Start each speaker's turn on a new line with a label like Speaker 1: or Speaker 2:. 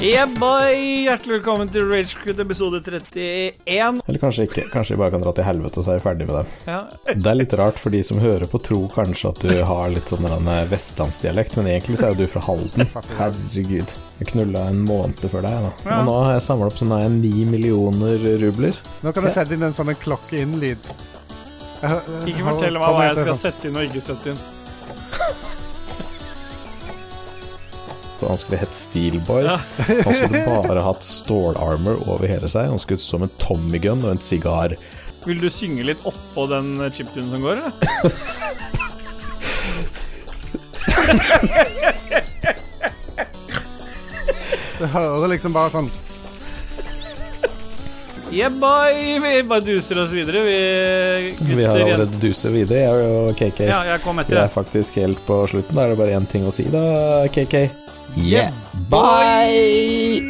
Speaker 1: Yeah, boy! Hjertelig velkommen til Ragequit episode 31.
Speaker 2: Eller kanskje ikke. Kanskje vi bare kan dra til helvete, og så er vi ferdig med det.
Speaker 1: Ja.
Speaker 2: Det er litt rart for de som hører på, tror kanskje at du har litt sånn der en, eh, vestlandsdialekt, men egentlig så er jo du fra Halden. Herregud. Jeg knulla en måned før deg, da.
Speaker 1: Ja.
Speaker 2: Og nå har jeg samla opp sånn her ni millioner rubler.
Speaker 3: Nå kan du sette inn en sånn klokke-inn-lyd.
Speaker 1: Ikke fortell meg hva sånn? jeg skal sette inn og ikke sette inn.
Speaker 2: Og han skulle hett Steelboy.
Speaker 1: Ja.
Speaker 2: Han skulle bare hatt stålarmor over hele seg. Han skulle ut som en Tommy Gun og en sigar.
Speaker 1: Vil du synge litt oppå den chiptunen som går, eller?
Speaker 3: Du hører liksom bare sånn
Speaker 1: Yeah, boy! Vi bare duser oss videre, vi gutter.
Speaker 2: Vi har
Speaker 1: igjen.
Speaker 2: allerede duset videre, jeg og KK.
Speaker 1: Ja, jeg kom
Speaker 2: Vi
Speaker 1: etter
Speaker 2: er
Speaker 1: deg.
Speaker 2: faktisk helt på slutten. Da er det bare én ting å si, da, KK.
Speaker 1: Yeah.
Speaker 2: Bye!